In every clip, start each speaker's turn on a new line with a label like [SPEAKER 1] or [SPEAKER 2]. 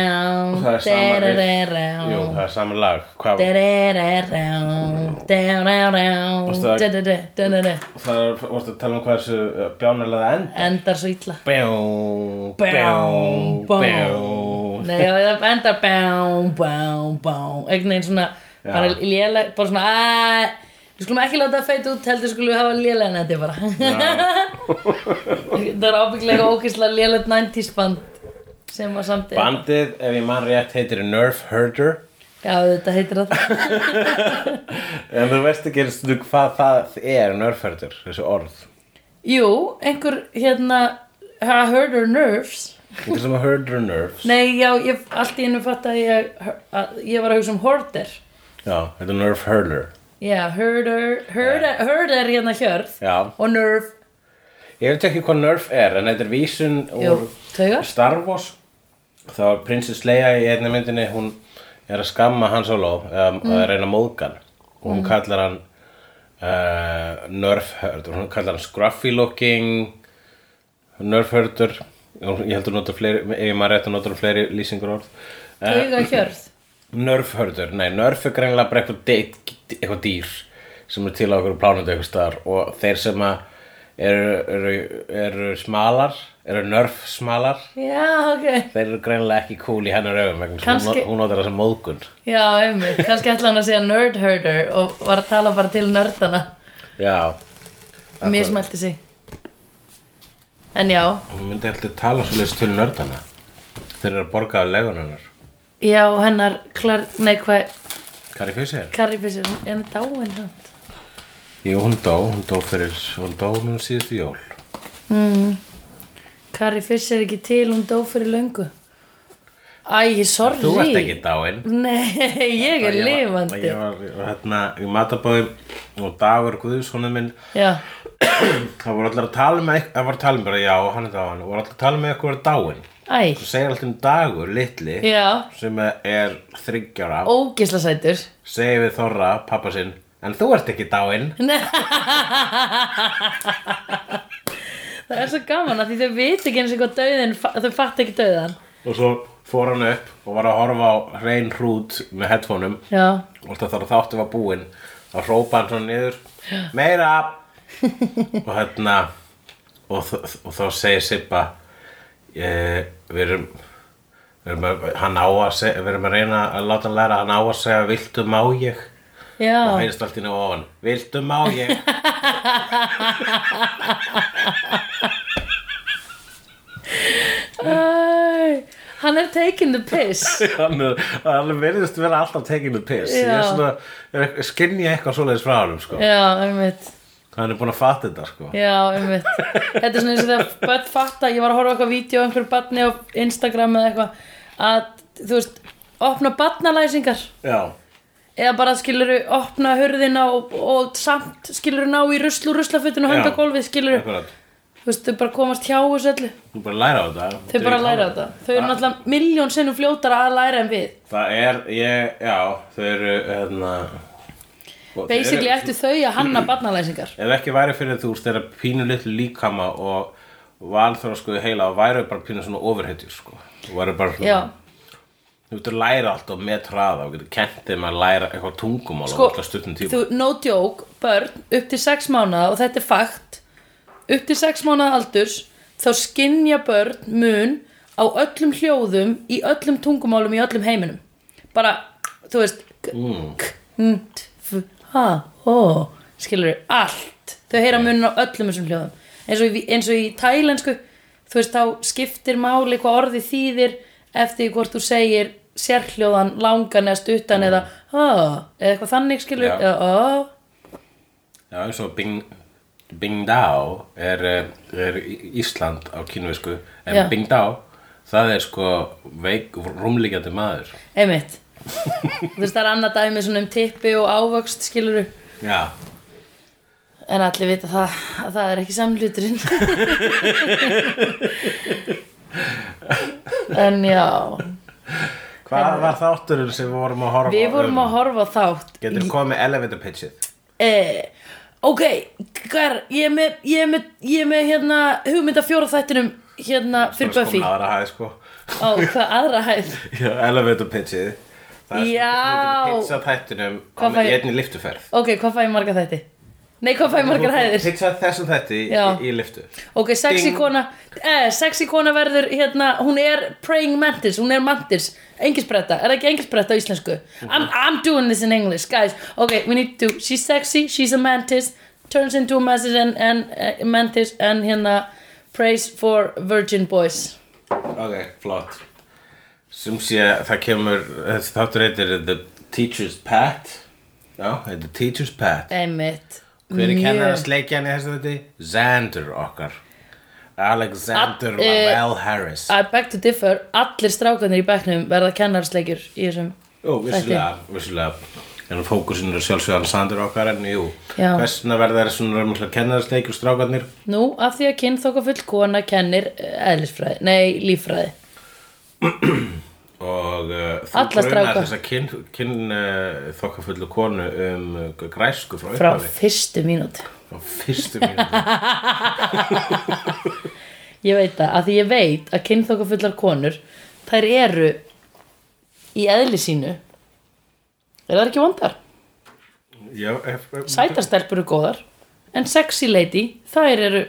[SPEAKER 1] það er sama riff.
[SPEAKER 2] Derererá.
[SPEAKER 1] Jú, það er sama lag Hvað,
[SPEAKER 2] Derererá. Derererá.
[SPEAKER 1] Varstu að-
[SPEAKER 2] Dedede, dedede.
[SPEAKER 1] Það er, vorstu að tala um hversu uh, bjánarlega enda
[SPEAKER 2] Endar svo illa
[SPEAKER 1] Bjó,
[SPEAKER 2] Bjá,
[SPEAKER 1] bjó,
[SPEAKER 2] bjá.
[SPEAKER 1] bjó
[SPEAKER 2] Nei, já, það endar bjá, bjá, bjá Einhvern veginn svona
[SPEAKER 1] Já.
[SPEAKER 2] bara léleg, bara svona "Æ, Við skulum ekki láta það feita út, heldur skulum við hafa lélega netti bara Það er ábygglega ókýrslega lélegt 90s band sem var samt
[SPEAKER 1] Bandið, ef ég man rétt, heitir Nerf Herder
[SPEAKER 2] Já, þetta heitir það
[SPEAKER 1] En þú veist ekki einu sinni hvað það er Nerf Herder, þessu orð
[SPEAKER 2] Jú, einhver hérna ha- Herder Nerves
[SPEAKER 1] Þetta er sem að Herder Nerfs
[SPEAKER 2] Nei, já, ég, allt í einu fatt að ég, að ég var að hugsa um Horder
[SPEAKER 1] Já, þetta er Nerf Herder
[SPEAKER 2] Já, Herder, Herder, Herder hérna hjörð
[SPEAKER 1] Já,
[SPEAKER 2] og Nerve
[SPEAKER 1] ég veit ekki hvað Nerf er En þetta er vísun
[SPEAKER 2] Jú,
[SPEAKER 1] úr
[SPEAKER 2] taugar
[SPEAKER 1] Star Wars þá er prinsess Leia í einni myndinni hún er að skamma Han Solo um, og er að reyna að móðgan og hún kallar hann uh, nerfhördur, hún kallar hann scruffy looking nerfhördur og ég heldur notur fleiri ef ég maður rétt að notur fleiri lýsingur orð uh,
[SPEAKER 2] Tauga hjörð
[SPEAKER 1] nerfhördur, nei nerf er greinilega bara eitthvað, deit, eitthvað dýr sem er til á okkur plánandi eitthvað staðar og þeir sem að eru, eru, eru smalar eru nerf smalar
[SPEAKER 2] Já, ok
[SPEAKER 1] Þeir eru greinilega ekki cool í hennar augum vegna þess að
[SPEAKER 2] Kannski-
[SPEAKER 1] hún- hún notar þessa móðgun
[SPEAKER 2] Já, einmitt, kannski ætla hann að segja nerd herder og var að tala bara til nördana
[SPEAKER 1] Já,
[SPEAKER 2] Mér smelti sig En já,
[SPEAKER 1] hún myndi alltaf tala svolítið til nördana Þeir eru að borga af legun hennar
[SPEAKER 2] já, hennar klar, nei, hvað,
[SPEAKER 1] Kari Fjössir?
[SPEAKER 2] Karibis er henni dáin hann
[SPEAKER 1] Jú, hún dó, hún dó fyrir, hún dó nú síðustu jól
[SPEAKER 2] Karibis er ekki til, hún dó fyrir löngu Æ, sorry
[SPEAKER 1] Þú ert ekki dáin
[SPEAKER 2] Nei, ég er lifandi
[SPEAKER 1] Ég var, ég var hérna í matabóðum og Dagur Guðssonin minn
[SPEAKER 2] Já,
[SPEAKER 1] Það voru allir að tala með, það voru að tala með bara já, hann er dáin og voru allir að tala með eitthvað dáin
[SPEAKER 2] æ,
[SPEAKER 1] Þú segir alltaf um Dagur, litli
[SPEAKER 2] já,
[SPEAKER 1] sem er þryggjara
[SPEAKER 2] ógisla sætur
[SPEAKER 1] segir við Þorra, pappa sinn en þú ert ekki dáinn
[SPEAKER 2] Það er svo gaman að því þau veit ekki eins og hvað dauðin, þau fatt ekki dauðan.
[SPEAKER 1] og svo fór hann upp og var að horfa á hrein hrút með headphoneum
[SPEAKER 2] Já,
[SPEAKER 1] og alltaf þar þáttu var búinn þá hrópa hann svona niður meira og hérna og, þ- og þá segir Sippa eh, við erum við erum að, hann á að segja við erum að reyna að láta hann læra hann á að segja viltu má ég
[SPEAKER 2] já,
[SPEAKER 1] og heyrist allt inn á ofan viltu má ég
[SPEAKER 2] Æ, hann er taking the piss.
[SPEAKER 1] hann, er- hann verðist vera alltaf tekinu piss ég
[SPEAKER 2] Já.
[SPEAKER 1] er svona, ég skinnja eitthvað svoleiðis frá hann sko.
[SPEAKER 2] Já, einmitt,
[SPEAKER 1] hann er búin að fatta þetta sko.
[SPEAKER 2] já, einmitt. Þetta er svona eins og þegar börn fatta, ég var að horfa á eitthvað vídeo á einhverju barni á Instagram eða eitthvað, að, þú veist, opna barnalæsingar
[SPEAKER 1] já,
[SPEAKER 2] eða bara skiluru opna hurðina og, og samt skiluru ná í ruslu, ruslafutin og henda
[SPEAKER 1] Já.
[SPEAKER 2] gólfið skiluru,
[SPEAKER 1] akkurat
[SPEAKER 2] þú veist, þau bara komast hjá þessu öllu.
[SPEAKER 1] þú bara læra á þetta
[SPEAKER 2] Þau bara læra þetta. Þau eru náttúrulega miljón sinnum fljótara að læra en við.
[SPEAKER 1] það er, ég, já, þau eru hérna, og þau eru-
[SPEAKER 2] Basically
[SPEAKER 1] Mm.
[SPEAKER 2] ættu þau að hanna barnalæsingar.
[SPEAKER 1] ef ekki væri fyrir þú þeirra pínu litlu líkama og valþrósku heila og væri bara pínu svona overhættjur sko. og væri bara svona
[SPEAKER 2] Já,
[SPEAKER 1] Þú getur læra allt og með traða og getur kent þeim að læra eitthvað tungumál
[SPEAKER 2] Sko,
[SPEAKER 1] og alltaf stuttum tíma.
[SPEAKER 2] þú, no joke, börn upp til sex mánaða og þetta er fakt, upp til sex mánaða aldurs, þá skinja börn mun á öllum hljóðum, í öllum tungumálum, í öllum heiminum. Bara, þú veist, k, k, n, t, f, h, h, skilur allt. Þau heyra munin á öllum þessum hljóðum. Eins og, í- eins og í tælensku, þú veist, þá skiptir máli hvað orðið þýðir eftir hvort þú segir sérhljóðan, langan eða stuttan eða ha, eða eitthvað þannig skilur,
[SPEAKER 1] Já.
[SPEAKER 2] eða a,
[SPEAKER 1] Já, eins og Bing, Bingdao er, eh, er Í- Ísland á kínversku en
[SPEAKER 2] Já.
[SPEAKER 1] Bingdao, það er sko veik, rúmlíkjandi maður
[SPEAKER 2] einmitt. þú veist, það er annað dæmi svona um tippi og ávöxt skilur,
[SPEAKER 1] Já,
[SPEAKER 2] en allir vita það, að það er ekki samluturinn. en já,
[SPEAKER 1] hvað var þátturinn sem við vorum að horfa Um,
[SPEAKER 2] við vorum að horfa á þátt.
[SPEAKER 1] Getur þú komið með elevator pitchið?
[SPEAKER 2] eh, ok, hver, ég er með, ég er með, ég er með hérna hugmynda fjóra þættinum hérna fyrir
[SPEAKER 1] Bara skoðum
[SPEAKER 2] Buffy.
[SPEAKER 1] aðra hæð, sko.
[SPEAKER 2] á hvað aðra hæð
[SPEAKER 1] Já, elevator pitchið Það er
[SPEAKER 2] Já.
[SPEAKER 1] svona- Pitcha þættinum á
[SPEAKER 2] Hvað fæ-
[SPEAKER 1] með- í einni liftuferð
[SPEAKER 2] ok, hvað fæ ég marga þætti? nei, hvað fæ ég margar hæðir?
[SPEAKER 1] Pitcha þessum þætti í,
[SPEAKER 2] Já.
[SPEAKER 1] í liftu
[SPEAKER 2] ok, sexy
[SPEAKER 1] Ding.
[SPEAKER 2] kona eh, sexy kona verður hérna hún er praying mantis, hún er mantis engisbretta, er það ekki engisbretta á íslensku
[SPEAKER 1] Mhm.
[SPEAKER 2] I'm, I'm doing this in English, guys ok, we need to, she's sexy, she's a mantis turns into a mantis and, and uh, mantis and hérna prays for virgin boys
[SPEAKER 1] Ok, flott Sum sé það kemur Þessi þáttur heitir The Teacher's Pet Já, heitir Teacher's Pet
[SPEAKER 2] einmitt
[SPEAKER 1] Hver er
[SPEAKER 2] Mjög.
[SPEAKER 1] kennar að sleikja hann í þessu þetta? Xander okkar Alexander
[SPEAKER 2] Að- eh,
[SPEAKER 1] Lavelle Harris
[SPEAKER 2] I beg to differ, allir strákanir í bekknum verða kennarsleikir í þessum
[SPEAKER 1] Jú, vissulega, vissulega En fókusin er sjálfsögðan Xander okkar En jú,
[SPEAKER 2] Já.
[SPEAKER 1] hversna verða þær svona raunmjöld Kennarasleikjur strákarnir
[SPEAKER 2] Nú, af því að kynþokka full kona kennir eh, eðlisfræði, nei, líffræði
[SPEAKER 1] Og uh, þú
[SPEAKER 2] Alla
[SPEAKER 1] grunar
[SPEAKER 2] stráka.
[SPEAKER 1] þessa kyn, kyn uh, þokkafullu konu um uh, græsku frá
[SPEAKER 2] frá
[SPEAKER 1] upphafi
[SPEAKER 2] fyrstu mínútu
[SPEAKER 1] Frá fyrstu mínu
[SPEAKER 2] Ég veit það, af því ég veit að kynþokkafullar konur þær eru í eðli sínu er það ekki vondar
[SPEAKER 1] Já, ef, ef,
[SPEAKER 2] sætastelpur eru góðar en sexy lady, þær eru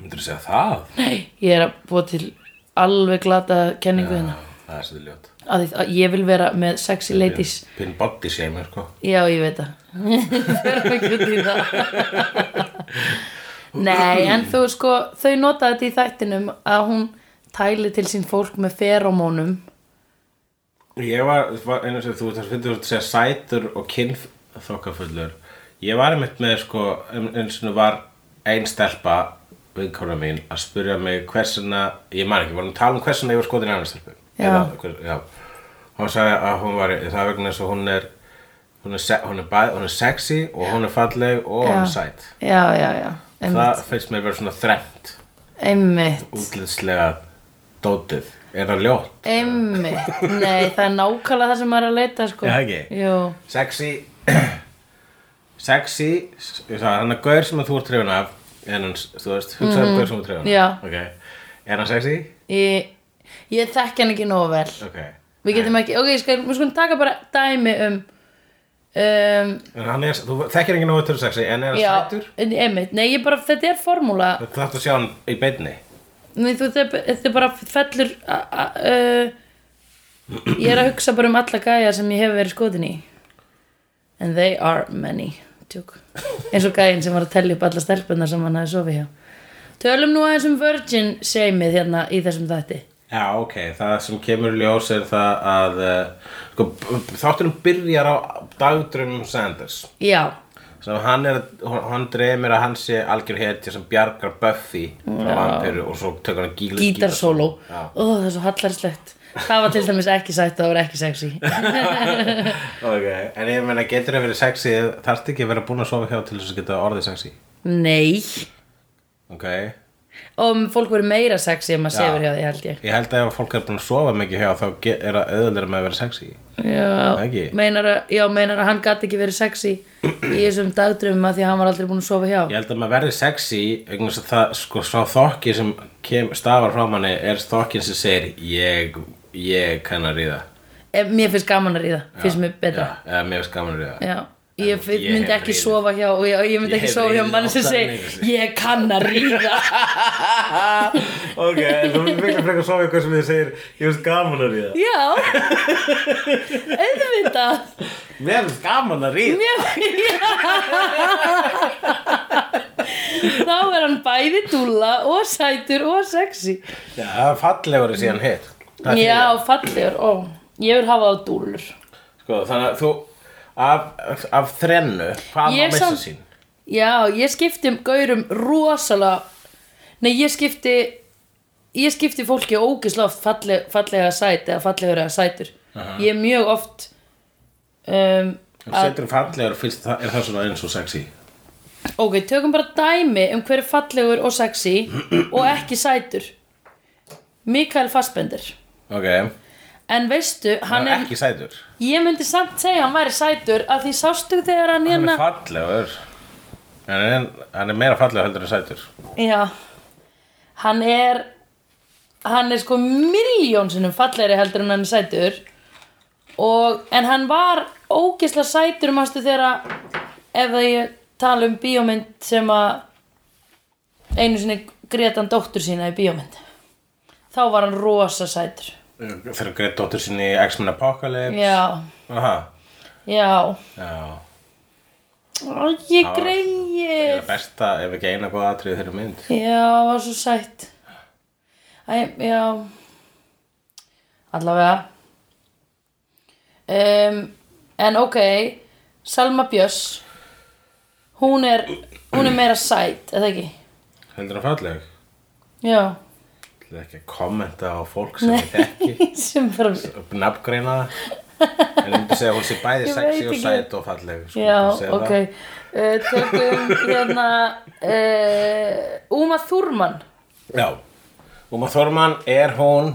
[SPEAKER 1] Myndur þú segja það?
[SPEAKER 2] nei, ég er að búa til alveg glata kenningu hérna
[SPEAKER 1] Það er svolítið ljót
[SPEAKER 2] af því að ég vil vera með sexy ladies
[SPEAKER 1] Pinn body shame, sko
[SPEAKER 2] Já, ég veit það Förum ekki út í það Nei, en þú sko þau notaði þetta í þættinum að hún tæli til sín fólk með feromónum
[SPEAKER 1] Ég var, var einu sem þú þar finnst þú að segja sætur og kynþokkafullur Ég var einmitt með, sko, ein- einu sinni var ein stelpa vinkona mín að spyrja mig hversina, ég man ekki, við varum að tala um hversina ég var skotin í annars stelpu
[SPEAKER 2] Já.
[SPEAKER 1] Eða hver- já. Hún sagði að hún var, það er vegna þess að hún er hún er, se, hún er, bæð, hún er sexy og hún er falleg og hún er sæt
[SPEAKER 2] Já, já, já, einmitt,
[SPEAKER 1] Það finnst mér vera svona þrengt
[SPEAKER 2] einmitt,
[SPEAKER 1] útlitslega dótið er það ljótt
[SPEAKER 2] einmitt Nei, það er nákvæmlega það sem maður er að leita sko.
[SPEAKER 1] Já, ekki?
[SPEAKER 2] Jú,
[SPEAKER 1] sexy sexy ég sagði, hann er gaur sem að þú ert trefin af en hann, þú veist, hugsaðu um gaur sem þú ert trefin af
[SPEAKER 2] Mhm. Já.
[SPEAKER 1] ok, er hann sexy?
[SPEAKER 2] ég, ég þekki hann ekki nógu vel
[SPEAKER 1] ok
[SPEAKER 2] Við getum ekki, ok, ég skal, við skulum taka bara dæmi um um,
[SPEAKER 1] en hann er, þú þekkir enginn nógu til sexy en er hann
[SPEAKER 2] Já,
[SPEAKER 1] sætur?
[SPEAKER 2] einmitt, nei ég bara, þetta er formúla
[SPEAKER 1] þú þarfst að sjá hann í beinni
[SPEAKER 2] Nei, þú, þetta þetta bara fellur a- a- uh, Ég er að hugsa bara um alla gæja sem ég hef verið skotin í And they are many Tjúk Eins og gæjin sem var að tellja upp alla stelpunar sem hann hafi sofið hjá Tölum nú aðeins um virgin seimið hérna í þessum þætti
[SPEAKER 1] já, ok, það sem kemur í ljós er það að uh, sko, b- b- þátturinn byrjar á dagdrömmum Sanders
[SPEAKER 2] Já,
[SPEAKER 1] sem hann er, hon- hann dreymir að hann sé algjör hetja sem bjargar Buffy frá vampiru og svo tökur hann gíl,
[SPEAKER 2] gítarsóló
[SPEAKER 1] Já.
[SPEAKER 2] Ó, það er svo hallarslegt Það var til dæmis ekki sætt, það var ekki sexy
[SPEAKER 1] Okay. En ég meina, getur það verið sexy þarfst ekki að vera búin að sofa hjá til þess að geta orðið sexy
[SPEAKER 2] Nei
[SPEAKER 1] Ok,
[SPEAKER 2] Og fólk verið meira sexy ef maður
[SPEAKER 1] Já.
[SPEAKER 2] sefur hjá því held ég
[SPEAKER 1] ég held að ef fólk er búin að sofa mikið hjá þá ge- er það auðvöldlega með að vera sexy
[SPEAKER 2] Já,
[SPEAKER 1] Ekki?
[SPEAKER 2] meinar að, já, meinar að hann gæti ekki verið sexy í þessum dagdröfum að því að hann var aldrei búin að sofa hjá
[SPEAKER 1] Ég held að maður verði sexy vegna þess að það, sko, sá þokki sem kem, stafar frá manni er þokkin sem segir ég, ég kann að ríða
[SPEAKER 2] Ef- Eh, Mér finnst gaman að ríða, finnst mér betra
[SPEAKER 1] Já, eða mér finnst gaman að ríða
[SPEAKER 2] Já, Ég,
[SPEAKER 1] En ég
[SPEAKER 2] myndi
[SPEAKER 1] hef
[SPEAKER 2] ekki
[SPEAKER 1] ríðið.
[SPEAKER 2] sofa hjá og ég, ég myndi
[SPEAKER 1] Ég
[SPEAKER 2] ekki
[SPEAKER 1] hef
[SPEAKER 2] sofa hjá
[SPEAKER 1] ríðið
[SPEAKER 2] mann sem
[SPEAKER 1] oftar en
[SPEAKER 2] segir
[SPEAKER 1] einu sinni.
[SPEAKER 2] ég kann að ríða
[SPEAKER 1] Ok, þú mikla frekar að sofa eitthvað sem þið segir ég finnst gaman að ríða
[SPEAKER 2] Já Auðvitað
[SPEAKER 1] Mér finnst gaman að ríða
[SPEAKER 2] Mér Þá er hann bæði dúlla og sætur og sexy
[SPEAKER 1] Já, það er fallegur síðan hitt Það er
[SPEAKER 2] Já, fallegur, ó Ég vil hafa á dúllur
[SPEAKER 1] Sko, þannig að þú af, af þrennu, hvað
[SPEAKER 2] Ég
[SPEAKER 1] má missa
[SPEAKER 2] samt-
[SPEAKER 1] sín?
[SPEAKER 2] Já, ég skipti um gaurum rosalega Nei, ég skipti Ég skipti fólki ógislega oft falle, fallega sæt eða fallegur eða sætur Ég er mjög oft um,
[SPEAKER 1] Þú setur fallegur fyrst, það- er það svona eins og sexy
[SPEAKER 2] Ok, tökum bara dæmi um hver er fallegur og sexy og ekki sætur Mikael Fassbender
[SPEAKER 1] Ok,
[SPEAKER 2] En veistu, hann
[SPEAKER 1] hann
[SPEAKER 2] er,
[SPEAKER 1] er ekki sætur
[SPEAKER 2] ég myndi samt segja að hann væri sætur að því sástu þegar
[SPEAKER 1] Hann
[SPEAKER 2] hann
[SPEAKER 1] er
[SPEAKER 2] hérna
[SPEAKER 1] fallegur En hann er, hann er meira fallegur heldur en sætur
[SPEAKER 2] Já, hann er hann er sko miljón sinnum fallegri heldur en hann er sætur og, en hann var ógeðslega sætur mástu þegar að ef það ég tala um bíómynd sem að einu sinni grét hann dóttur sína í bíómynd þá var hann rosa sætur
[SPEAKER 1] Fyrir að greið dóttur sinni í X-Men Apocalypse
[SPEAKER 2] já,
[SPEAKER 1] Aha,
[SPEAKER 2] já
[SPEAKER 1] já
[SPEAKER 2] Ó, ég
[SPEAKER 1] var- Það
[SPEAKER 2] greið
[SPEAKER 1] er besta ef ekki eina góða atrið þeirra mynd
[SPEAKER 2] Já, var svo sætt Æ, já Allavega um, En ok Salma Björs Hún er, hún er meira sætt Eða ekki?
[SPEAKER 1] Heldur það falleg?
[SPEAKER 2] Já
[SPEAKER 1] Ég ætla ekki að kommenta á fólk sem ég þekki
[SPEAKER 2] Sem bara
[SPEAKER 1] Nafngreina það En ég myndi segja að hún sé bæði
[SPEAKER 2] Ég
[SPEAKER 1] sexy
[SPEAKER 2] veit
[SPEAKER 1] og
[SPEAKER 2] ekki.
[SPEAKER 1] sæt og falleg sko,
[SPEAKER 2] Já,
[SPEAKER 1] myndi segja
[SPEAKER 2] ok
[SPEAKER 1] það.
[SPEAKER 2] uh, Tökum hérna uh, Uma Thurman
[SPEAKER 1] Já, Uma Thurman er hún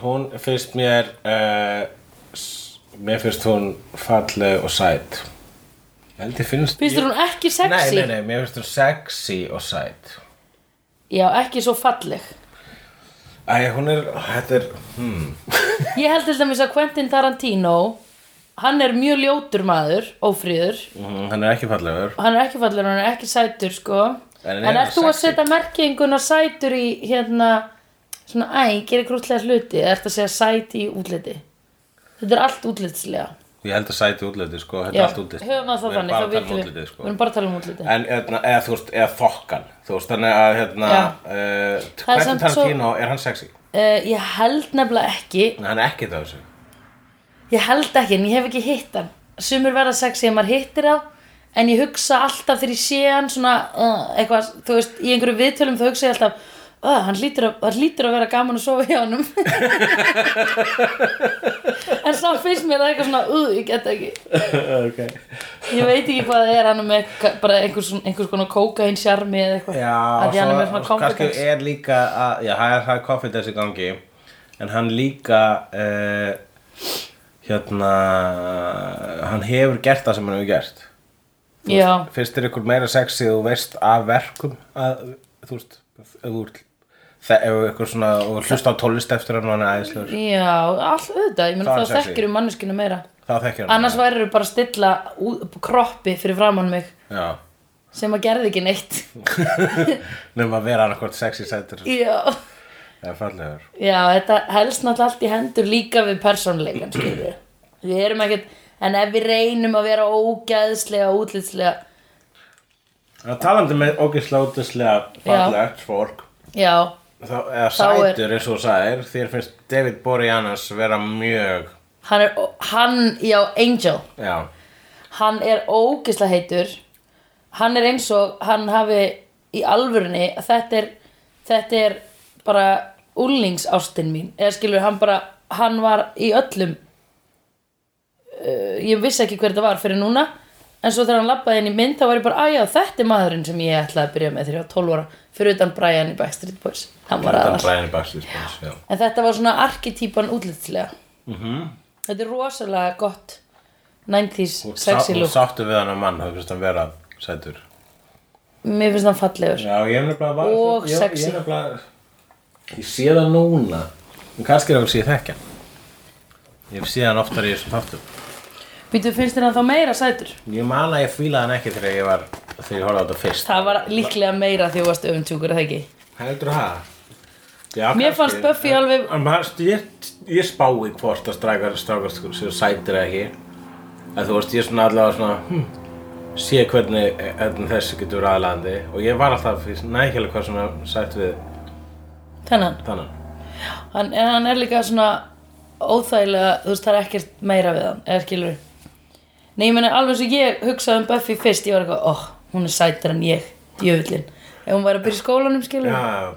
[SPEAKER 1] hún finnst mér uh, mér finnst hún falleg og sæt Heldur finnst
[SPEAKER 2] Finnst þér hún ekki
[SPEAKER 1] Nei,
[SPEAKER 2] sexy?
[SPEAKER 1] nei, nei, mér finnst hún sexy og sæt
[SPEAKER 2] Já, ekki svo falleg
[SPEAKER 1] Æ, hún er, þetta er hmm.
[SPEAKER 2] Ég held til dæmis að Quentin Tarantino hann er mjög ljótur maður ófríður,
[SPEAKER 1] mm, hann er ekki fallegur
[SPEAKER 2] hann er ekki fallur hann er ekki sætur sko
[SPEAKER 1] En hann
[SPEAKER 2] en,
[SPEAKER 1] er
[SPEAKER 2] ert þú að
[SPEAKER 1] sexy.
[SPEAKER 2] setja merkinguna sætur í hérna svona æ, gerir grútlega hluti eða ert að segja sæt í útliti þetta er allt útlitslega
[SPEAKER 1] Ég held að sæti útliti, sko, þetta
[SPEAKER 2] Já,
[SPEAKER 1] er allt útliti
[SPEAKER 2] höfum að það
[SPEAKER 1] Við erum
[SPEAKER 2] þannig
[SPEAKER 1] bara að tala um
[SPEAKER 2] þá vitum við,
[SPEAKER 1] útlitið, sko
[SPEAKER 2] við erum bara að tala um útliti
[SPEAKER 1] En eða, eða, þú veist, eða þokkan Þú veist, þannig að, hérna
[SPEAKER 2] Já.
[SPEAKER 1] uh,
[SPEAKER 2] Það er
[SPEAKER 1] Hvernig
[SPEAKER 2] samt svo-
[SPEAKER 1] Tarantino, er hann sexy?
[SPEAKER 2] uh, ég held nefnilega ekki
[SPEAKER 1] Nei, Hann er ekki það þessu
[SPEAKER 2] Ég held ekki, en ég hef ekki hitt hann. Sumur verða sexy ef maður hittir þá, en ég hugsa alltaf þegar ég sé hann svona, uh, eitthvað, þú veist, í einhverju viðtölum þá hugsa ég alltaf, uh, hann, lítur að, hann lítur að vera gaman að sofa hjá honum. en samt finnst mér það eitthvað svona, uh, ég get ekki.
[SPEAKER 1] okay.
[SPEAKER 2] Ég veit ekki hvað það er, hann er með eitthvað- bara einhvers, einhvers konar kókain sjarmi eða eitthvað.
[SPEAKER 1] Já,
[SPEAKER 2] Af því hann er með svona
[SPEAKER 1] svo kannski
[SPEAKER 2] confidence.
[SPEAKER 1] er líka að, já, hann er high confidence í gangi en hann líka uh, hérna hann hefur gert það sem hann hefur gert
[SPEAKER 2] Já,
[SPEAKER 1] finnst þér ykkur meira sexy þú veist af verkum að, þú veist, ef þú ert- þe- ef ykkur svona, og hlusta á tólist eftir hann og hann er æðislegur,
[SPEAKER 2] já, alltaf auðvitað, ég menn
[SPEAKER 1] Það er
[SPEAKER 2] þá
[SPEAKER 1] sexy.
[SPEAKER 2] þekkir um manneskinu meira.
[SPEAKER 1] þá þekkir hann
[SPEAKER 2] Annars værirðu bara að stilla ú- kroppi fyrir framann mig.
[SPEAKER 1] já,
[SPEAKER 2] sem að gerði ekki neitt
[SPEAKER 1] nefnum að vera annarkvort sexy sætur
[SPEAKER 2] já,
[SPEAKER 1] eða fallegur
[SPEAKER 2] já þetta helst náttúrulega allt í hendur líka við persónuleikan skilur við. við erum ekkert en ef við reynum að vera ógæðslega útlitslega,
[SPEAKER 1] að talandi með ógislega útislega fallegt fólk
[SPEAKER 2] já
[SPEAKER 1] Þá, eða
[SPEAKER 2] Þá er-
[SPEAKER 1] sætur eins og sæðir þér finnst David Boreanaz vera mjög
[SPEAKER 2] hann er, hann, já, Angel
[SPEAKER 1] já,
[SPEAKER 2] hann er ógæðslega heitur hann er eins og hann hafi í alvörunni þetta er, þetta er bara úlingsástin mín eða skilur hann bara, hann var í öllum uh, ég vissi ekki hver þetta var fyrir núna en svo þegar hann labbaði inn í mynd þá var ég bara, að já, þetta er maðurinn sem ég ætlaði að byrja með þegar ég var 12 ára fyrir utan Brian í Backstreet Boys hann var
[SPEAKER 1] utan
[SPEAKER 2] aðal,
[SPEAKER 1] Brian Baxter Spence, sko, já.
[SPEAKER 2] en þetta var svona arkitýpan útlitslega
[SPEAKER 1] Mhm.
[SPEAKER 2] þetta er rosalega gott 90s
[SPEAKER 1] Þú
[SPEAKER 2] sexy
[SPEAKER 1] sá- þú
[SPEAKER 2] look
[SPEAKER 1] sáttu við hann að mann það finnst hann vera sætur
[SPEAKER 2] mér finnst hann fallegur
[SPEAKER 1] já, ég er nefnilega var,
[SPEAKER 2] Og
[SPEAKER 1] ég,
[SPEAKER 2] sexy.
[SPEAKER 1] ég, er nefnilega, ég sé það núna en kannski er það sé ég þekkja hann. ég sé hann oftar í þessum þáttum
[SPEAKER 2] býtu, finnst þér hann þá meira sætur?
[SPEAKER 1] ég man að ég fílaði hann ekki þegar ég var þegar ég horfði á þetta fyrst
[SPEAKER 2] það var líklega meira því þú varst öfumtjúkur, eða ekki?
[SPEAKER 1] heldur það Já,
[SPEAKER 2] Mér
[SPEAKER 1] kannski.
[SPEAKER 2] fannst Buffy alveg-
[SPEAKER 1] En maður- Ég, ég spái hvort að strækar strákar sko, séu sætir eða ekki að þú veist, ég svona allavega svona hm, sé hvernig, hvernig þessi getur verið aðlandi og ég var alltaf nækjælega hvað svona sætt við
[SPEAKER 2] þennan
[SPEAKER 1] þannan
[SPEAKER 2] hann, en hann er líka svona óþægilega, þú veist, það er ekkert meira við hann, eða skilur Nei, ég meni alveg eins og ég hugsaði um Buffy fyrst, ég var eitthvað, óh, hún er sætar en ég, djöfullin. Ef hún væri að byrja í skólanum, skilur
[SPEAKER 1] Já,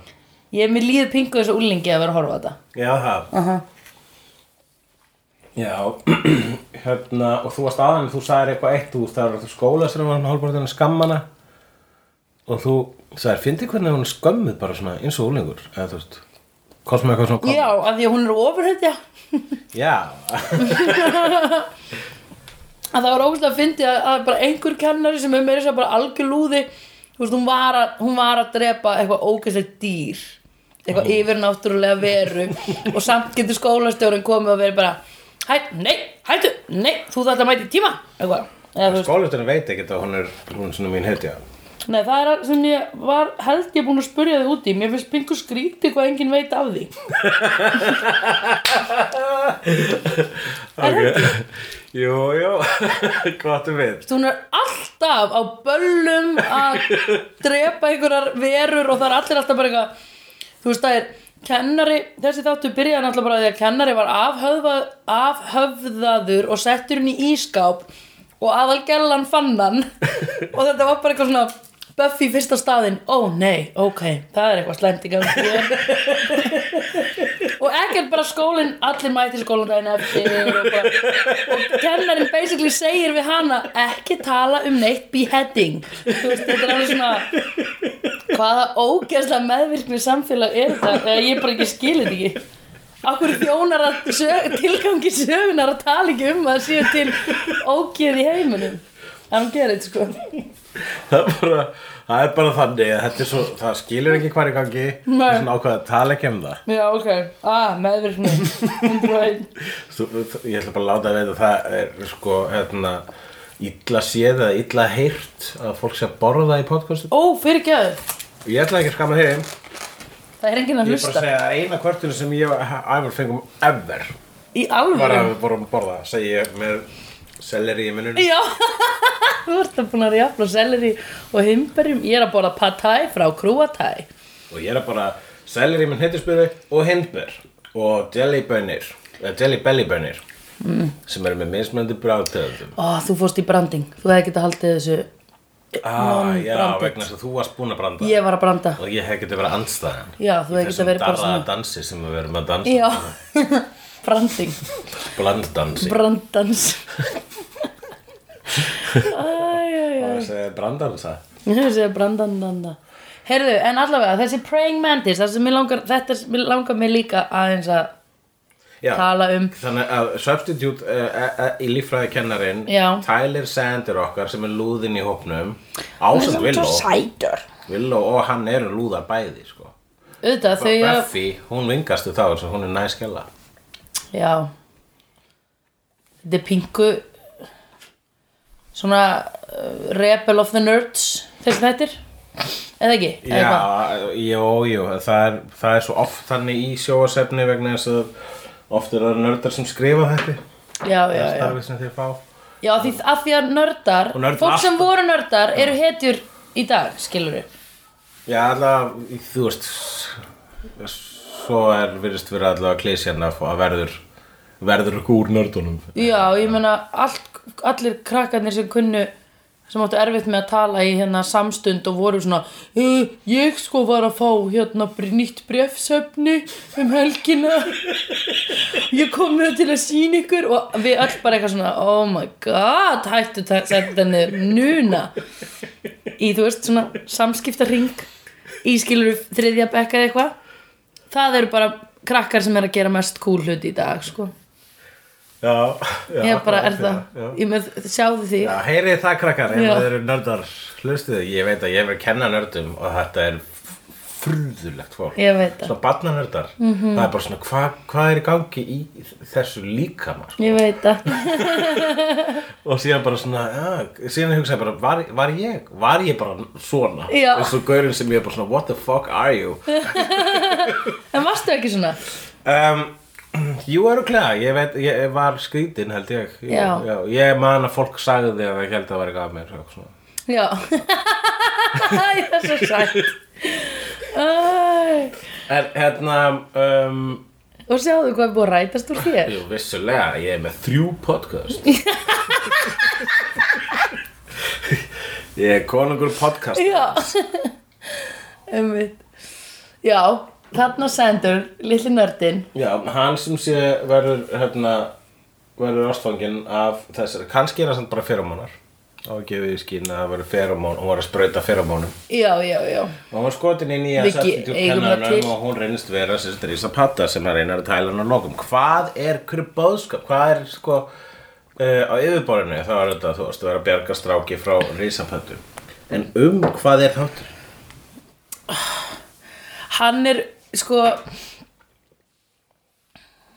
[SPEAKER 2] Ég er mér líður pingu þessu úlingi að vera að horfa á þetta.
[SPEAKER 1] já það
[SPEAKER 2] Aha.
[SPEAKER 1] Já, hérna, og þú varst aðan þú sagðir eitthvað eitt, þú um veist, það var skóla sem var hálfbárðinu skammana og þú sagðir, fyndi hvernig hún er skömmuð bara svona eins og úlingur eða þú veist, kost með eitthvað svona kom-
[SPEAKER 2] Já, af því að hún er ofurhetja.
[SPEAKER 1] Já,
[SPEAKER 2] að það var ógust að fyndi að, að bara einhver kennari sem er meira þess að segja bara algjör lúði þú veist, hún var að, hún var að drepa eitthvað ógust dýr eitthvað yfirnáttúrulega veru og samt getur skólastjórinn komið og verið bara hætt, nei, hættu, nei, þú þarft að mæta í tíma eitthvað Eða, þú veist,
[SPEAKER 1] Skólasturinn veit ekkert að hún er, hún er svona mín hetja.
[SPEAKER 2] Nei, það er sem ég var held ég búin að spurja þig út í Mér finnst pingu skrítið hvað enginn veit af því
[SPEAKER 1] Ok, jú, jú, hvað áttu við?
[SPEAKER 2] Þú er alltaf á böllum að drepa einhverjar verur og það er allir alltaf bara eitthvað Þú veist það er kennari, þessi þáttu byrjaði náttúrulega bara því að kennari var afhöfða, afhöfðaður og settur inn í ískáp og aðal gellan fann hann og þetta var bara eitthvað svona Buffy fyrsta staðinn, ó nei, ok, það er eitthvað slæmt í gangi hér. og ekkert bara skólinn, allir mæti skólan daginn eftir og, bara, og kennarin basically segir við hana ekki tala um neitt beheading þú veist, þetta er alveg svona Hvaða ógeðslega meðvirkni samfélag er þetta? Eða ég bara ekki skilir þetta ekki. Akkur þjónar að sög, tilgangi sögunar að tala ekki um að það séu til ógeð í heiminum. I don't get it, sko.
[SPEAKER 1] Það er bara, það er bara þannig að þetta er svo, það skilur ekki hvað er í gangi. Það er svona ákveð að tala ekki um það.
[SPEAKER 2] Já, ok. Ah, meðvirkni. 101.
[SPEAKER 1] Þú, ég ætla bara að láta að veit að það er sko, hérna, illa séð eða illa heyrt að fólk sé að borða í podcastu.
[SPEAKER 2] Ó, fyrirgjöðu.
[SPEAKER 1] Ég ætla ekki að skama þeim.
[SPEAKER 2] Það er enginn að
[SPEAKER 1] Ég er bara að
[SPEAKER 2] hlusta.
[SPEAKER 1] segja að eina kvörtinu sem ég og Ævar fengum ever
[SPEAKER 2] Í
[SPEAKER 1] var að
[SPEAKER 2] alvöru.
[SPEAKER 1] við vorum að borða, segi ég með selleri í mununum.
[SPEAKER 2] Já. Þú ert að búin að jafna seleri og himberjum. Ég er að borða pad thai frá krúatæ.
[SPEAKER 1] og ég er að bara selleri minn hittispöru og hindber og jellybönir eða jellybellybönir mm. sem eru með mismöndi bráðtöðum
[SPEAKER 2] Ó, þú fórst í branding. Þú hefði getað haldið þessu
[SPEAKER 1] ah, já,
[SPEAKER 2] Non-branded.
[SPEAKER 1] vegna þess að þú varst búin að branda
[SPEAKER 2] Ég var að branda
[SPEAKER 1] og ég hef getið verið andstæðan
[SPEAKER 2] Já, þú hefði getað
[SPEAKER 1] þessum
[SPEAKER 2] verið bara
[SPEAKER 1] darraða
[SPEAKER 2] svona
[SPEAKER 1] dansi sem við verum að dansa
[SPEAKER 2] Já, branding
[SPEAKER 1] blanddansi
[SPEAKER 2] Brandans Æjæjæ
[SPEAKER 1] Þessi branddansa
[SPEAKER 2] Ég hefði segja brandandanda Heyrðu, en allavega, þessi praying mantis það sem mig langar, þetta sem mig langar mig líka aðeins að
[SPEAKER 1] Já,
[SPEAKER 2] tala um
[SPEAKER 1] þannig að substitute uh, uh, uh, í líffræðikennarin
[SPEAKER 2] Já.
[SPEAKER 1] Tyler Sander okkar sem er lúðinn í hópnum ásand Willow
[SPEAKER 2] sætur
[SPEAKER 1] Willow og hann eru lúðar bæði sko.
[SPEAKER 2] Auðvitað, þau að
[SPEAKER 1] Buffy, hún vingastu þá þess að hún er næskella
[SPEAKER 2] Já Þetta er pingu Svona uh, Rebel of the Nerds Þessi þættir Eða ekki? Eða hvað?
[SPEAKER 1] Já, jú, jú, það er, það er svo oft þannig í sjóasefni vegna þess að oft eru það nördar sem skrifa þetta
[SPEAKER 2] já,
[SPEAKER 1] það er
[SPEAKER 2] já, já.
[SPEAKER 1] starfið sem þeir fá
[SPEAKER 2] já því, að því að nördar
[SPEAKER 1] Og nördar
[SPEAKER 2] fólk sem
[SPEAKER 1] alltaf.
[SPEAKER 2] voru nördar eru hetjur í dag, skilur við
[SPEAKER 1] Já, allavega, þú veist svo er virðist vera allavega klísjan að fá- að verður verður úr nördunum
[SPEAKER 2] já, ég meina allt, allir krakkarnir sem kunnu sem áttu erfitt með að tala í hérna samstund og voru svona "Eh, ég sko var að fá hérna br- nýtt brefsöfni um helgina ég kom með það til að sína ykkur og við öll bara eitthvað svona oh my god, hættu að setja það niður núna í þú veist svona samskipta ring í skilur þriðja bekka eða eitthvað það eru bara krakkar sem er að gera mest cool hluti í dag sko
[SPEAKER 1] Já, já
[SPEAKER 2] ég bara er
[SPEAKER 1] já,
[SPEAKER 2] það,
[SPEAKER 1] já.
[SPEAKER 2] ég með sjáðu því
[SPEAKER 1] Já, heyrið það krakkar, ef
[SPEAKER 2] Já.
[SPEAKER 1] það eru nördar hlustuðu, ég veit að ég verið að kenna nördum og þetta er frúðulegt fólk
[SPEAKER 2] ég veit það, Mhm.
[SPEAKER 1] svona barnanördar -hmm. það er bara svona hva- hvað er í gangi í þessu líkama sko?
[SPEAKER 2] ég veit það
[SPEAKER 1] og síðan bara svona ja, síðan hugsaði bara var, var ég var ég bara svona
[SPEAKER 2] Já.
[SPEAKER 1] eins og gaurinn sem ég er bara svona what the fuck are you
[SPEAKER 2] en varstu ekki svona
[SPEAKER 1] um, jú eru klæða ég veit ég var skrítin held ég Ég-
[SPEAKER 2] Já.
[SPEAKER 1] já, ég man að fólk sagði því að það held að það væri gaf mér og svona.
[SPEAKER 2] já það er svo sætt Æ.
[SPEAKER 1] en hérna um,
[SPEAKER 2] og sjáðu hvað er búið að rætast úr þér
[SPEAKER 1] jú, vissulega ég er með þrjú podcast ég er konungur podcast
[SPEAKER 2] Já Einmitt Já, þarna sendur litli nördin
[SPEAKER 1] Já, hann sem sé verður hérna, verður ástfanginn af þessari, kannski er það samt bara feromónar á að gefa í skýna að verður feromón hún var að sprauta feromónum
[SPEAKER 2] Já, já, já
[SPEAKER 1] og hún var skotin inn í að
[SPEAKER 2] Viggi, eigum það til?
[SPEAKER 1] kennanum og hún reynist vera sérst Rísa Patta sem hann reynar að tæla hann á lokum hvað er hver bóðskap, hvað er sko uh, á yfirborðinu þá er þetta þú veist, þú er að bjarga stráki frá Rísa Pattu en um hvað er þáttur?
[SPEAKER 2] Hann er sko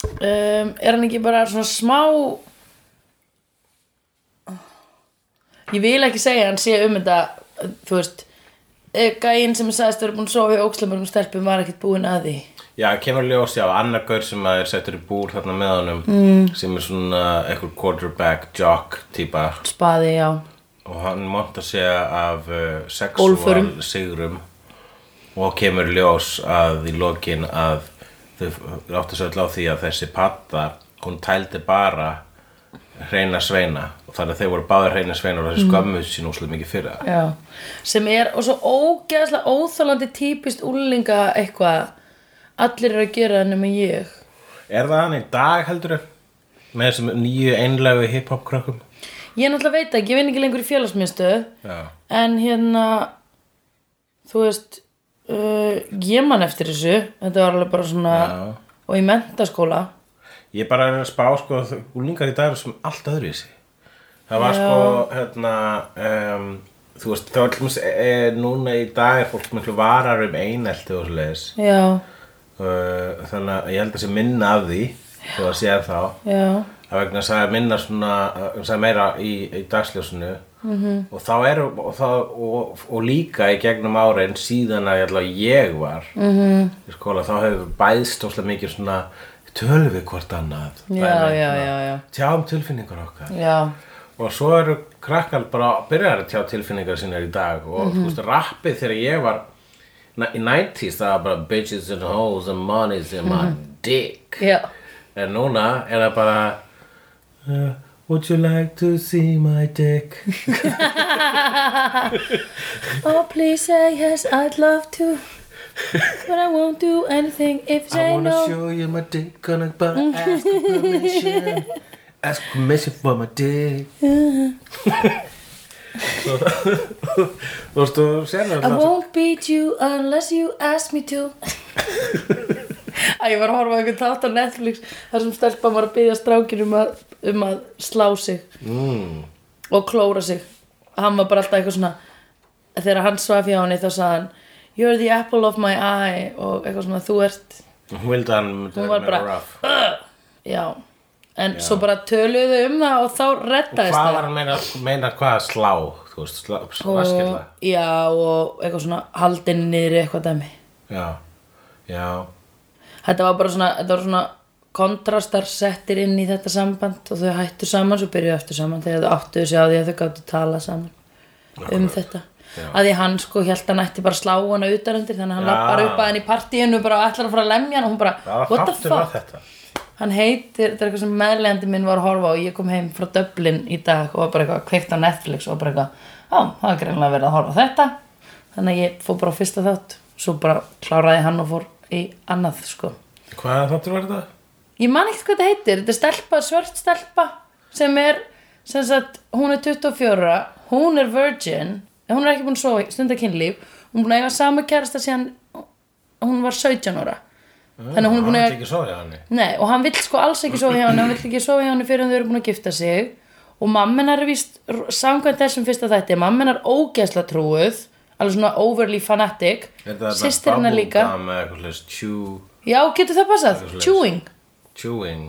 [SPEAKER 2] um, er hann ekki bara svona smá ég vil ekki segja að hann sé um þetta þú veist eh, gæinn sem er sagðist vera búin að sofa í ókslamörnum stelpum var ekkert búin að því
[SPEAKER 1] Já, kemur ljósi á annar gaur sem að er settur í búr þarna með honum mm. sem er svona einhver quarterback jock típa
[SPEAKER 2] spaði, já
[SPEAKER 1] og hann monta sig af uh,
[SPEAKER 2] Bólförum.
[SPEAKER 1] sexual sigrum og kemur ljós að í lokin að þau áttu svo öll á því að þessi patta hún tældi bara hreina sveina og þannig að þeir voru báðir hreina sveina og þessi skömmuð sín úslega mikið fyrir það
[SPEAKER 2] Já, sem er og svo ógeðslega óþálandi típist úlinga eitthvað allir eru að gera það nema ég
[SPEAKER 1] Er það hann í dag heldur með þessum nýju einlegu hip-hop krökkum?
[SPEAKER 2] ég náttúrulega veit ekki, ég vinn ekki lengur í félagsmiðstu
[SPEAKER 1] Já,
[SPEAKER 2] en hérna þú veist uh, ég man eftir þessu þetta var alveg bara svona
[SPEAKER 1] já
[SPEAKER 2] og í mentaskóla
[SPEAKER 1] Ég er bara er að spá sko að úlingar í dag eru sem allt öðru í sig. Það var
[SPEAKER 2] Já.
[SPEAKER 1] sko, hérna, um, þú veist, það var allmest, e, núna í dag er fólk miklu varar um einelti og svoleiðis.
[SPEAKER 2] já,
[SPEAKER 1] Uh, þannig að ég held að sé minna af því, þó að sé þá.
[SPEAKER 2] já,
[SPEAKER 1] Það vegna að það er minna svona, uh, það er meira í, í dagsljósinu.
[SPEAKER 2] Mhm.
[SPEAKER 1] -hmm. Og þá eru, og, þá, og, og líka í gegnum árin síðan að ég, ætla að ég var
[SPEAKER 2] Mhm.
[SPEAKER 1] -hmm. í skóla, þá hefur bæðst óslega mikið svona, tölum við hvort annað.
[SPEAKER 2] já, já, já, já.
[SPEAKER 1] tjáum tilfinningar okkar
[SPEAKER 2] já.
[SPEAKER 1] og svo eru krakkar bara að byrja að tjá tilfinningar sínar í dag og þú veist, rappið þegar ég var na- í 90s það var bara bitches and hoes and money's in my dick
[SPEAKER 2] Já.
[SPEAKER 1] en núna er það bara uh, would you like to see my dick
[SPEAKER 2] Oh please say yes, I'd love to But I won't do anything if you
[SPEAKER 1] I
[SPEAKER 2] say
[SPEAKER 1] wanna
[SPEAKER 2] no
[SPEAKER 1] show you my dick gonna but ask for permission ask permission for my dick þú veist, þú sér
[SPEAKER 2] I
[SPEAKER 1] það
[SPEAKER 2] won't beat you unless you ask me to Æ, ég var að horfa á einhvern þátt á Netflix þar sem stelpa var að byggja strákin um að, um að slá sig
[SPEAKER 1] mm.
[SPEAKER 2] og klóra sig hann var bara alltaf eitthvað svona þegar hann svaf hjá henni þá sagði hann You're the apple of my eye og eitthvað svona þú ert
[SPEAKER 1] Hún vildi að hann myndi vera
[SPEAKER 2] Hún var
[SPEAKER 1] meira
[SPEAKER 2] bara-
[SPEAKER 1] rough.
[SPEAKER 2] Já, en svo bara töluðu um það og þá rettaðist
[SPEAKER 1] Hvað
[SPEAKER 2] það
[SPEAKER 1] var hann meina, meina hvað að slá? Þú veist, slá, slaskilla.
[SPEAKER 2] og, Já, og eitthvað svona haldin niður í eitthvað dæmi
[SPEAKER 1] Já, já,
[SPEAKER 2] Þetta var bara svona, þetta var svona kontrastar settir inn í þetta samband og þau hættu saman, svo byrjuðu aftur saman þegar þau áttuðu sig á því að þau gáttu tala saman um þetta
[SPEAKER 1] Já.
[SPEAKER 2] að því hann sko held hann ætti bara að slá hana utanundir þannig að
[SPEAKER 1] Já.
[SPEAKER 2] hann lappar upp að henni í partíinu bara og ætlar að fara að lemja hann og hún bara,
[SPEAKER 1] það
[SPEAKER 2] what the
[SPEAKER 1] þáttur var
[SPEAKER 2] fuck
[SPEAKER 1] þetta.
[SPEAKER 2] hann heitir, þetta er eitthvað sem meðlegandi minn var að horfa á og ég kom heim frá Dublin í dag og var bara eitthvað kveikt á Netflix og bara eitthvað, á, það er greinlega verið að horfa á þetta þannig að ég fór bara á fyrsta þátt svo bara kláraði hann og fór í annað sko
[SPEAKER 1] Hvað þáttur var þetta?
[SPEAKER 2] ég man ekkert hvað þetta heitir, þetta er stelpa, svört stelpa sem er, sem sagt hún er 24, hún er virgin en hún er ekki búin að sofa, stunda kynlíf hún er búin að eiga sama kærasta síðan hún var 17 ára þannig að hún er búin að
[SPEAKER 1] Ah, Hann
[SPEAKER 2] eiga
[SPEAKER 1] er ekki svo hjá henni.
[SPEAKER 2] Nei, og hann vill sko alls ekki sofa hjá henni, hann vill ekki sofa hjá henni fyrir en þau eru búin að gifta sig og mammenar er víst, samkvæmt þessum fyrsta þætti, mammenar ógeðsla trúuð, alveg svona overly fanatic,
[SPEAKER 1] Er það
[SPEAKER 2] systir hennar líka.
[SPEAKER 1] Bubblegum eða eitthvað hlust, chew,
[SPEAKER 2] Já, getur það passað?
[SPEAKER 1] Eitthvað svoleiðis.
[SPEAKER 2] Chewing,
[SPEAKER 1] chewing.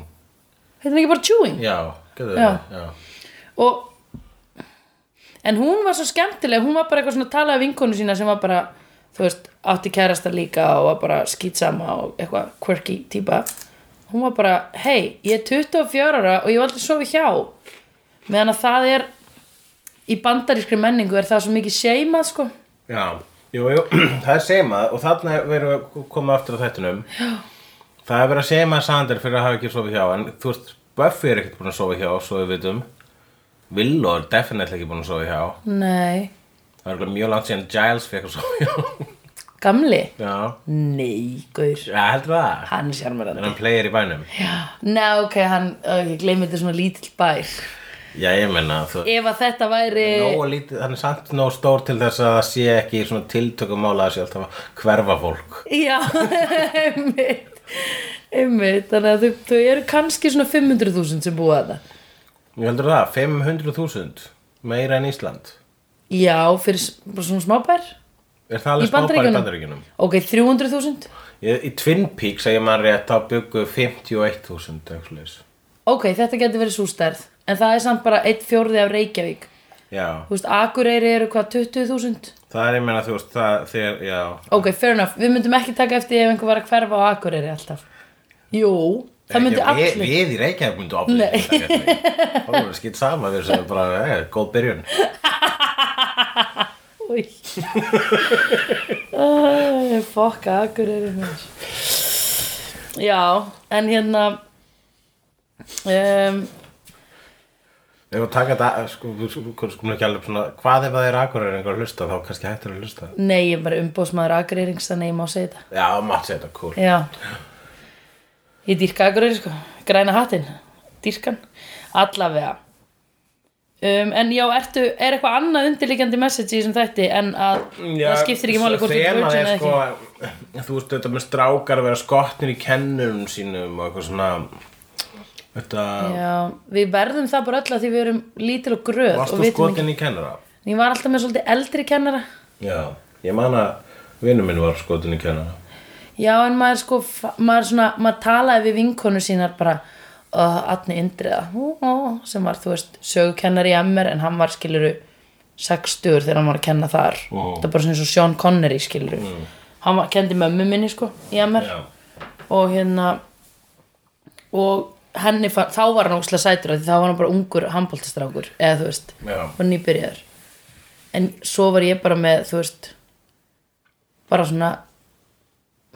[SPEAKER 2] heitir hann ekki bara chewing?
[SPEAKER 1] Já, getur
[SPEAKER 2] Já.
[SPEAKER 1] það, já.
[SPEAKER 2] og en hún var svo skemmtileg hún var bara eitthvað svona að tala af vinkonu sína sem var bara þú veist, átti kærasta líka og var bara skýtsama og eitthvað quirky típa hún var bara, hei, ég er 24 ára og ég var aldrei sofi hjá meðan að það er í bandarískri menningu er það svo mikið seimað sko
[SPEAKER 1] Já, jú, jú, það er seimað og þarna verðum við að koma aftur á þættinum. Já. Það er verið að seima Sander fyrir að hafa ekki sofið hjá, en þú veist, Buffy er ekkert búin að sofa hjá, svo við vitum. Willow er definitely ekki búin að sofa hjá.
[SPEAKER 2] nei,
[SPEAKER 1] Það er örugglega mjög langt síðan Giles fekk að sofa hjá.
[SPEAKER 2] gamli
[SPEAKER 1] Já,
[SPEAKER 2] nei, gaur,
[SPEAKER 1] já heldur það.
[SPEAKER 2] hann er
[SPEAKER 1] En
[SPEAKER 2] sjarmarandi
[SPEAKER 1] hann player í bænum.
[SPEAKER 2] nei, ok, hann, ok, gleymið þetta er svona lítill bær
[SPEAKER 1] Já, ég menna, þú...
[SPEAKER 2] ef að þetta væri
[SPEAKER 1] Nógu lítið, hann er samt nógu stór til þess að það sé ekki í svona tiltökumála að sé alltaf að hverfa fólk.
[SPEAKER 2] Já, einmitt einmitt, þannig að þau, þau eru kannski svona 500.000 sem búa að það
[SPEAKER 1] Ég heldur það, 500.000, meira en Ísland.
[SPEAKER 2] Já, fyrir s- bara svona smábær
[SPEAKER 1] Er það alveg
[SPEAKER 2] Í
[SPEAKER 1] smápar í
[SPEAKER 2] Bandaríkjunum?
[SPEAKER 1] bandaríkjunum?
[SPEAKER 2] Ok, 300.000
[SPEAKER 1] Í, í Twin Peaks, ef ég maður rétt, þá byggu 51.000 eitthvað svoleiðis.
[SPEAKER 2] Ok, þetta getur verið svo stærð En það er samt bara 1 fjórði af Reykjavík
[SPEAKER 1] Já,
[SPEAKER 2] Þú veist, Akureyri eru hvað, 20.000
[SPEAKER 1] það er ég meina þú veist, það þegar, já,
[SPEAKER 2] Ok, fair enough, við myndum ekki taka eftir ef einhver var að hverfa á Akureyri alltaf Jú, það myndi
[SPEAKER 1] Ekki,
[SPEAKER 2] allir
[SPEAKER 1] við, við í Reykjavík myndum aflýta Það voru skilt sama við sem bara, eh, góð byrjun
[SPEAKER 2] Új Æ, Fokk, Akureyri maður. Já, en hérna um,
[SPEAKER 1] Ef að taka þetta, sko, sko, sko, sko ekki alveg svona, hvað ef það er akkurir einhver að hlusta, þá kannski hættur að hlusta
[SPEAKER 2] Nei, ég er bara umbóðsmaður Akureyring Þannig ég má segja þetta
[SPEAKER 1] Já, maður segja þetta, cool
[SPEAKER 2] Já Ég dýrka Akureyri sko Græna hattinn, dýrkan Allavega um, En já, ertu, er eitthvað annað undirliggjandi message í þessum þætti En að það skiptir ekki máli hvort þú ert
[SPEAKER 1] Þema
[SPEAKER 2] virgin
[SPEAKER 1] er
[SPEAKER 2] eða
[SPEAKER 1] sko,
[SPEAKER 2] ekki
[SPEAKER 1] þú veist þetta með strákar að vera skotnir í kennunum sínum og eitthvað svona Þetta,
[SPEAKER 2] Já, við verðum það bara öll að því við erum lítil og gröð og
[SPEAKER 1] varst þú
[SPEAKER 2] vitum ekki
[SPEAKER 1] skotin í kennara?
[SPEAKER 2] Ég var alltaf með svolítið eldri kennara
[SPEAKER 1] Já, ég man að vinur minn var skotin í kennara
[SPEAKER 2] Já, en maður sko, maður svona, maður talaði við vinkonu sínar bara uh, Atni Indriða, uh, uh, sem var, þú veist, sögukennari í MR en hann var, skiluru, 60 þegar hann var að kenna þar
[SPEAKER 1] Ó.
[SPEAKER 2] Það er bara svona eins og Sean Connery, skiluru Hann var, kendi mömmu minni, sko, í MR
[SPEAKER 1] Já,
[SPEAKER 2] og hérna og henni fann, þá var hann óslega sætur af því þá var hann bara ungur handbóltastrákur eða þú veist,
[SPEAKER 1] Já.
[SPEAKER 2] var nýbyrjaður en svo var ég bara með þú veist bara svona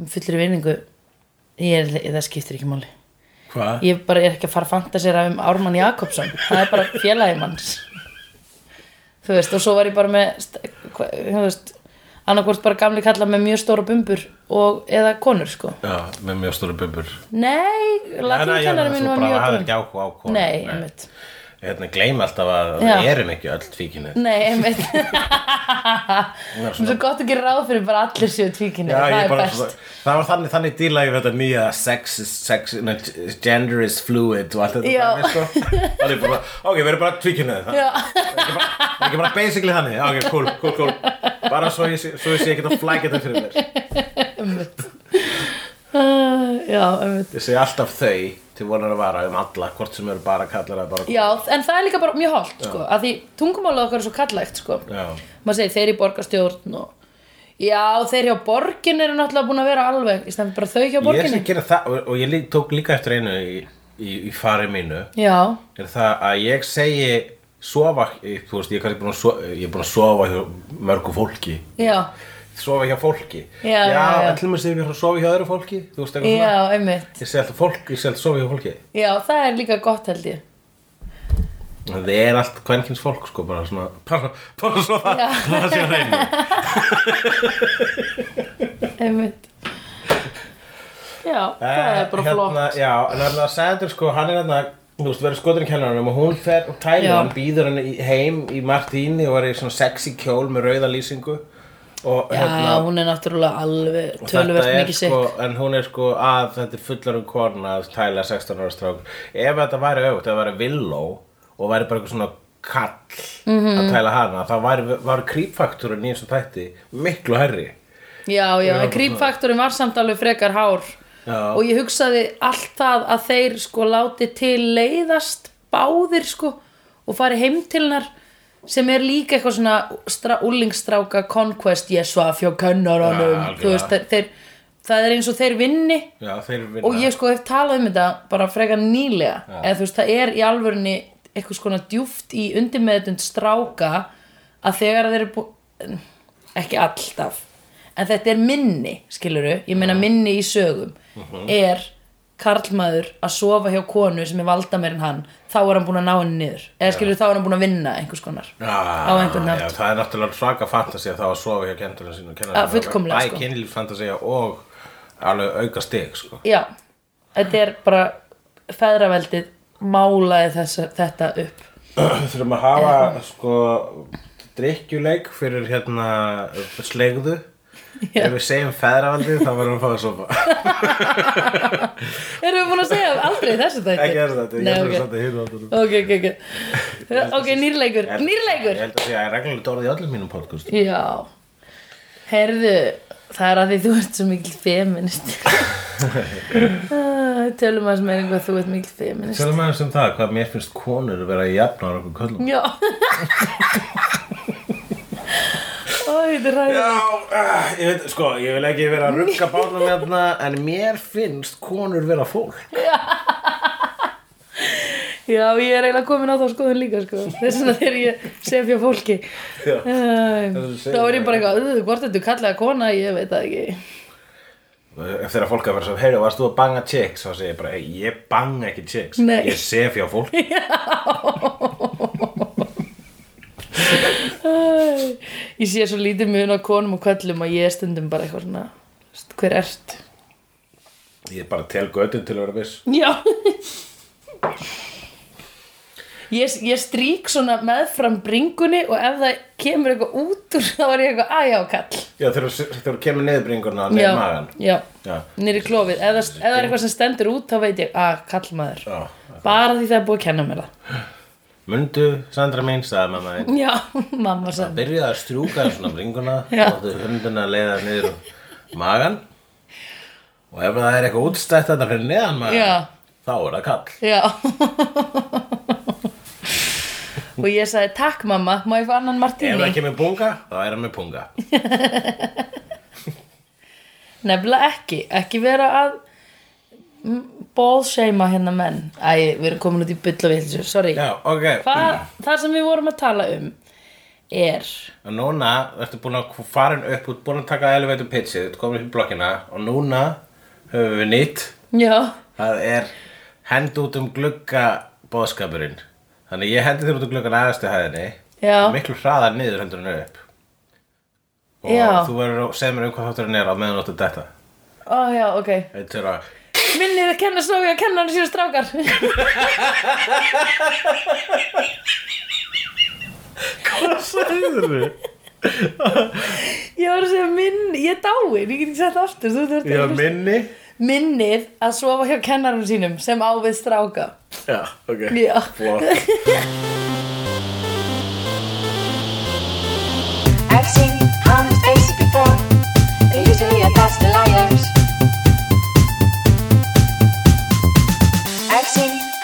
[SPEAKER 2] fullir vinningu ég er, það skiptir ekki máli
[SPEAKER 1] hvað?
[SPEAKER 2] ég bara er ekki að fara að fantasera um Ármann Jakobsson það er bara félagið manns þú veist, og svo var ég bara með st- hva- þú veist annarkvort bara gamli kalla með mjög stóra bumbur og, eða konur sko
[SPEAKER 1] Já, með mjög stóru bumbur
[SPEAKER 2] Nei, latinkennari minn var
[SPEAKER 1] mjög Það er
[SPEAKER 2] mjög
[SPEAKER 1] ekki áhuga á
[SPEAKER 2] góð
[SPEAKER 1] konum
[SPEAKER 2] Nei, einmitt
[SPEAKER 1] Hérna, gleyma alltaf að
[SPEAKER 2] Já.
[SPEAKER 1] við erum ekki öll tvíkinni
[SPEAKER 2] Nei, einmitt
[SPEAKER 1] Það er
[SPEAKER 2] Svo
[SPEAKER 1] svona-
[SPEAKER 2] gott að gera ráð fyrir bara allir séu tvíkinni
[SPEAKER 1] Já,
[SPEAKER 2] Það
[SPEAKER 1] ég
[SPEAKER 2] er
[SPEAKER 1] bara-
[SPEAKER 2] best
[SPEAKER 1] það var þannig, þannig díla ég við þetta nýja sex is, sex, na, gender is fluid og allt þetta
[SPEAKER 2] Já.
[SPEAKER 1] dæmi, sko. Það er bara, ok, við erum bara tvíkinnið það
[SPEAKER 2] Já,
[SPEAKER 1] er ekki bara- það er ekki bara basically þannig, Já, ok, cool, cool, cool bara svo ég, sé- svo ég sé ekki að flækja þetta fyrir mér
[SPEAKER 2] Uh, já, einmitt
[SPEAKER 1] ég segi alltaf þau til vonar að vara um alla, hvort sem eru bara kallar að bara
[SPEAKER 2] Já, en það er líka bara mjög holdt sko, að því tungumálið okkar er svo kallægt sko.
[SPEAKER 1] Já.
[SPEAKER 2] maður segir þeir í borgarstjórn og... Já, þeir hjá borgin eru náttúrulega búin að vera alveg í stæðan bara þau hjá
[SPEAKER 1] ég er sem
[SPEAKER 2] borginni
[SPEAKER 1] að gera það og, og ég lí- tók líka eftir einu í, í, í fari mínu
[SPEAKER 2] Já,
[SPEAKER 1] er það að ég segi sofa, ég- þú veist, ég er kannski búin að sofa, ég er búin að sofa hjá mörgu fólki
[SPEAKER 2] já,
[SPEAKER 1] sofa hjá fólki
[SPEAKER 2] Já, já, já.
[SPEAKER 1] en til mér segir mér að sofa hjá öðru fólki þú veist eitthvað
[SPEAKER 2] já,
[SPEAKER 1] svona
[SPEAKER 2] einmitt
[SPEAKER 1] ég segi alltaf fólk, ég segi alltaf sofa hjá fólki
[SPEAKER 2] Já, það er líka gott held ég
[SPEAKER 1] það er allt kvenkins fólk sko bara svona, bara, bara svo það
[SPEAKER 2] Já.
[SPEAKER 1] það sé að reyna
[SPEAKER 2] Einmitt Já, það er bara
[SPEAKER 1] hérna,
[SPEAKER 2] flott
[SPEAKER 1] já, en hérna Sandur sko, hann er hérna þú veist, verður skotin í kennanum og hún fer og tælir
[SPEAKER 2] Já.
[SPEAKER 1] hann, býður hann í- heim í Martíni og er í svona sexy kjól með rauða lýsingu og
[SPEAKER 2] Já,
[SPEAKER 1] hérna
[SPEAKER 2] hún er náttúrulega alveg
[SPEAKER 1] Og
[SPEAKER 2] töluvert
[SPEAKER 1] þetta er
[SPEAKER 2] mikið
[SPEAKER 1] sko,
[SPEAKER 2] sikk
[SPEAKER 1] en hún er sko að þetta er fullarum korna að tæla 16 ára strák ef þetta væri auðvitað, ef þetta væri villó og væri bara eitthvað svona kall
[SPEAKER 2] Mhm.
[SPEAKER 1] að tæla hana, þá væri, væri creepfakturinn í þessum þætti miklu herri
[SPEAKER 2] Já,
[SPEAKER 1] Já,
[SPEAKER 2] já, en grípfaktorin var samt alveg frekar hár
[SPEAKER 1] Já.
[SPEAKER 2] Og ég hugsaði allt það að þeir sko láti til leiðast báðir sko Og fari heim til hennar Sem er líka eitthvað svona stra, úlingstráka conquest Jesva fjó
[SPEAKER 1] Já,
[SPEAKER 2] könnaranum
[SPEAKER 1] algjörlega.
[SPEAKER 2] Þú veist, þeir, þeir, það er eins og þeir vinni
[SPEAKER 1] Já, þeir vinna
[SPEAKER 2] og ég sko hef talað um þetta bara frekar nýlega eða þú veist það er í alvörunni eitthvað skona djúft í undirmeðutund stráka að þegar þeir eru búin ekki alltaf en þetta er minni, skiluru ég meina minni í sögum
[SPEAKER 1] Mhm.
[SPEAKER 2] er karlmaður að sofa hjá konu sem er valda meir en hann þá er hann búin að ná henni niður eða skiluru þá er hann búin að vinna einhvers konar á einhvern
[SPEAKER 1] Já,
[SPEAKER 2] nátt
[SPEAKER 1] það er náttúrulega svaka fantasía þá að sofa hjá kendurinn sín og
[SPEAKER 2] Ah,
[SPEAKER 1] kenna
[SPEAKER 2] fullkomlega,
[SPEAKER 1] Bæ
[SPEAKER 2] sko.
[SPEAKER 1] kynlífsfantasía og alveg auka stig sko.
[SPEAKER 2] já, þetta er bara feðraveldið málaði þessa, þetta upp
[SPEAKER 1] þurfum að hafa sko drikkjuleik fyrir hérna slegðu ef við segjum feðravaldið þá verðum við að fá að sofa
[SPEAKER 2] Erum við búin að segja aldrei þessu þætti?
[SPEAKER 1] ekki er þetta,
[SPEAKER 2] Nei,
[SPEAKER 1] ég þurfum
[SPEAKER 2] ok.
[SPEAKER 1] að setja hérna áttunum
[SPEAKER 2] Ok, ok, ok Ok, nýrleikur, nýrleikur
[SPEAKER 1] ég held að segja reglulega orðið í öllum mínum podcast
[SPEAKER 2] Já Heyrðu, það er að því þú ert svo mikil feminist Ah, Tölum að sem er einhvað þú ert mikil feminist
[SPEAKER 1] Sjálfum aðeins um það, hvað mér finnst konur vera að jafna á okkur köllum
[SPEAKER 2] Já Ó, þetta er ræðið
[SPEAKER 1] Já, uh, ég veit, sko, ég vil ekki vera að rugga bátnum hérna En mér finnst konur vera fólk
[SPEAKER 2] Já, ég er eiginlega komin á þá skoðun líka sko. Þess vegna þegar ég sefja fólki
[SPEAKER 1] Já.
[SPEAKER 2] Æ,
[SPEAKER 1] Það er svo
[SPEAKER 2] Þá er ég
[SPEAKER 1] segir
[SPEAKER 2] bara eitthvað "Ugh, Hvort þetta er kallega kona, ég veit það ekki
[SPEAKER 1] Eftir að fólk að vera svo, heyrðu, varst þú að banga chicks? Þá segir ég bara, hey, ég banga ekki chicks
[SPEAKER 2] Nei.
[SPEAKER 1] Ég sef hjá fólk
[SPEAKER 2] Æ, Ég sé svo lítið mun á konum og köllum að ég er stundum bara eitthvað svona "St- Hver ert?
[SPEAKER 1] Ég bara tel göttin til að vera viss
[SPEAKER 2] Já Ég, ég strík svona meðfram bringunni og ef það kemur eitthvað út úr þá er ég eitthvað, að já, kall
[SPEAKER 1] Já, þegar þú- þegar þú kemur niðurbringurna og niður magan
[SPEAKER 2] já,
[SPEAKER 1] Já,
[SPEAKER 2] nýri klófið ef það, ef það er eitthvað sem stendur út þá veit ég, að kallmaður
[SPEAKER 1] já
[SPEAKER 2] bara því það er búið að kenna mér það
[SPEAKER 1] Mundu, Sandra mín, sagði mamma þín
[SPEAKER 2] já, mamma sann
[SPEAKER 1] Byrjaði að strjúka þér svona bringuna
[SPEAKER 2] Já.
[SPEAKER 1] Láttu hunduna leiða niður magan Og ef það er eitthvað útstætt þetta fyrir neðan magan
[SPEAKER 2] Já.
[SPEAKER 1] Þá er það kall
[SPEAKER 2] já og ég sagði, takk mamma má ég fá annan
[SPEAKER 1] Ef það
[SPEAKER 2] martíni
[SPEAKER 1] kemur punga, þá er það með punga
[SPEAKER 2] nefnilega ekki, ekki vera að bóðseima hérna menn æ, við erum komin út í byll og vitlisur, sorry
[SPEAKER 1] Já, ok
[SPEAKER 2] Hvað, það sem við vorum að tala um er
[SPEAKER 1] Og núna ertu búin að farin upp Þú ert búin að taka elevator pitchið, þú ert komin upp í blokkina Og núna höfum við nýtt
[SPEAKER 2] já,
[SPEAKER 1] Það er hend út um glugga bóðskapurinn Þannig ég hendi þér út um gluggan aðastu hæðinni
[SPEAKER 2] Já.
[SPEAKER 1] Miklu hraðar niður heldur en upp Og
[SPEAKER 2] Já.
[SPEAKER 1] þú verður að segja mér um hvað þátturinn er á meðan þú áttu þetta
[SPEAKER 2] ó já, ok
[SPEAKER 1] Þetta er að
[SPEAKER 2] minnið að kenna snogu að kenna hann síðan strákar
[SPEAKER 1] Hvað sagður þú?
[SPEAKER 2] ég var að segja minn, ég er dáin ég get ekki sagt það aftur þú þurft
[SPEAKER 1] Já,
[SPEAKER 2] að hlusta.
[SPEAKER 1] minni
[SPEAKER 2] minnið að sofa hjá kennarum sínum sem á við stráka
[SPEAKER 1] Já, ok
[SPEAKER 2] já,
[SPEAKER 1] Flott
[SPEAKER 3] I've seen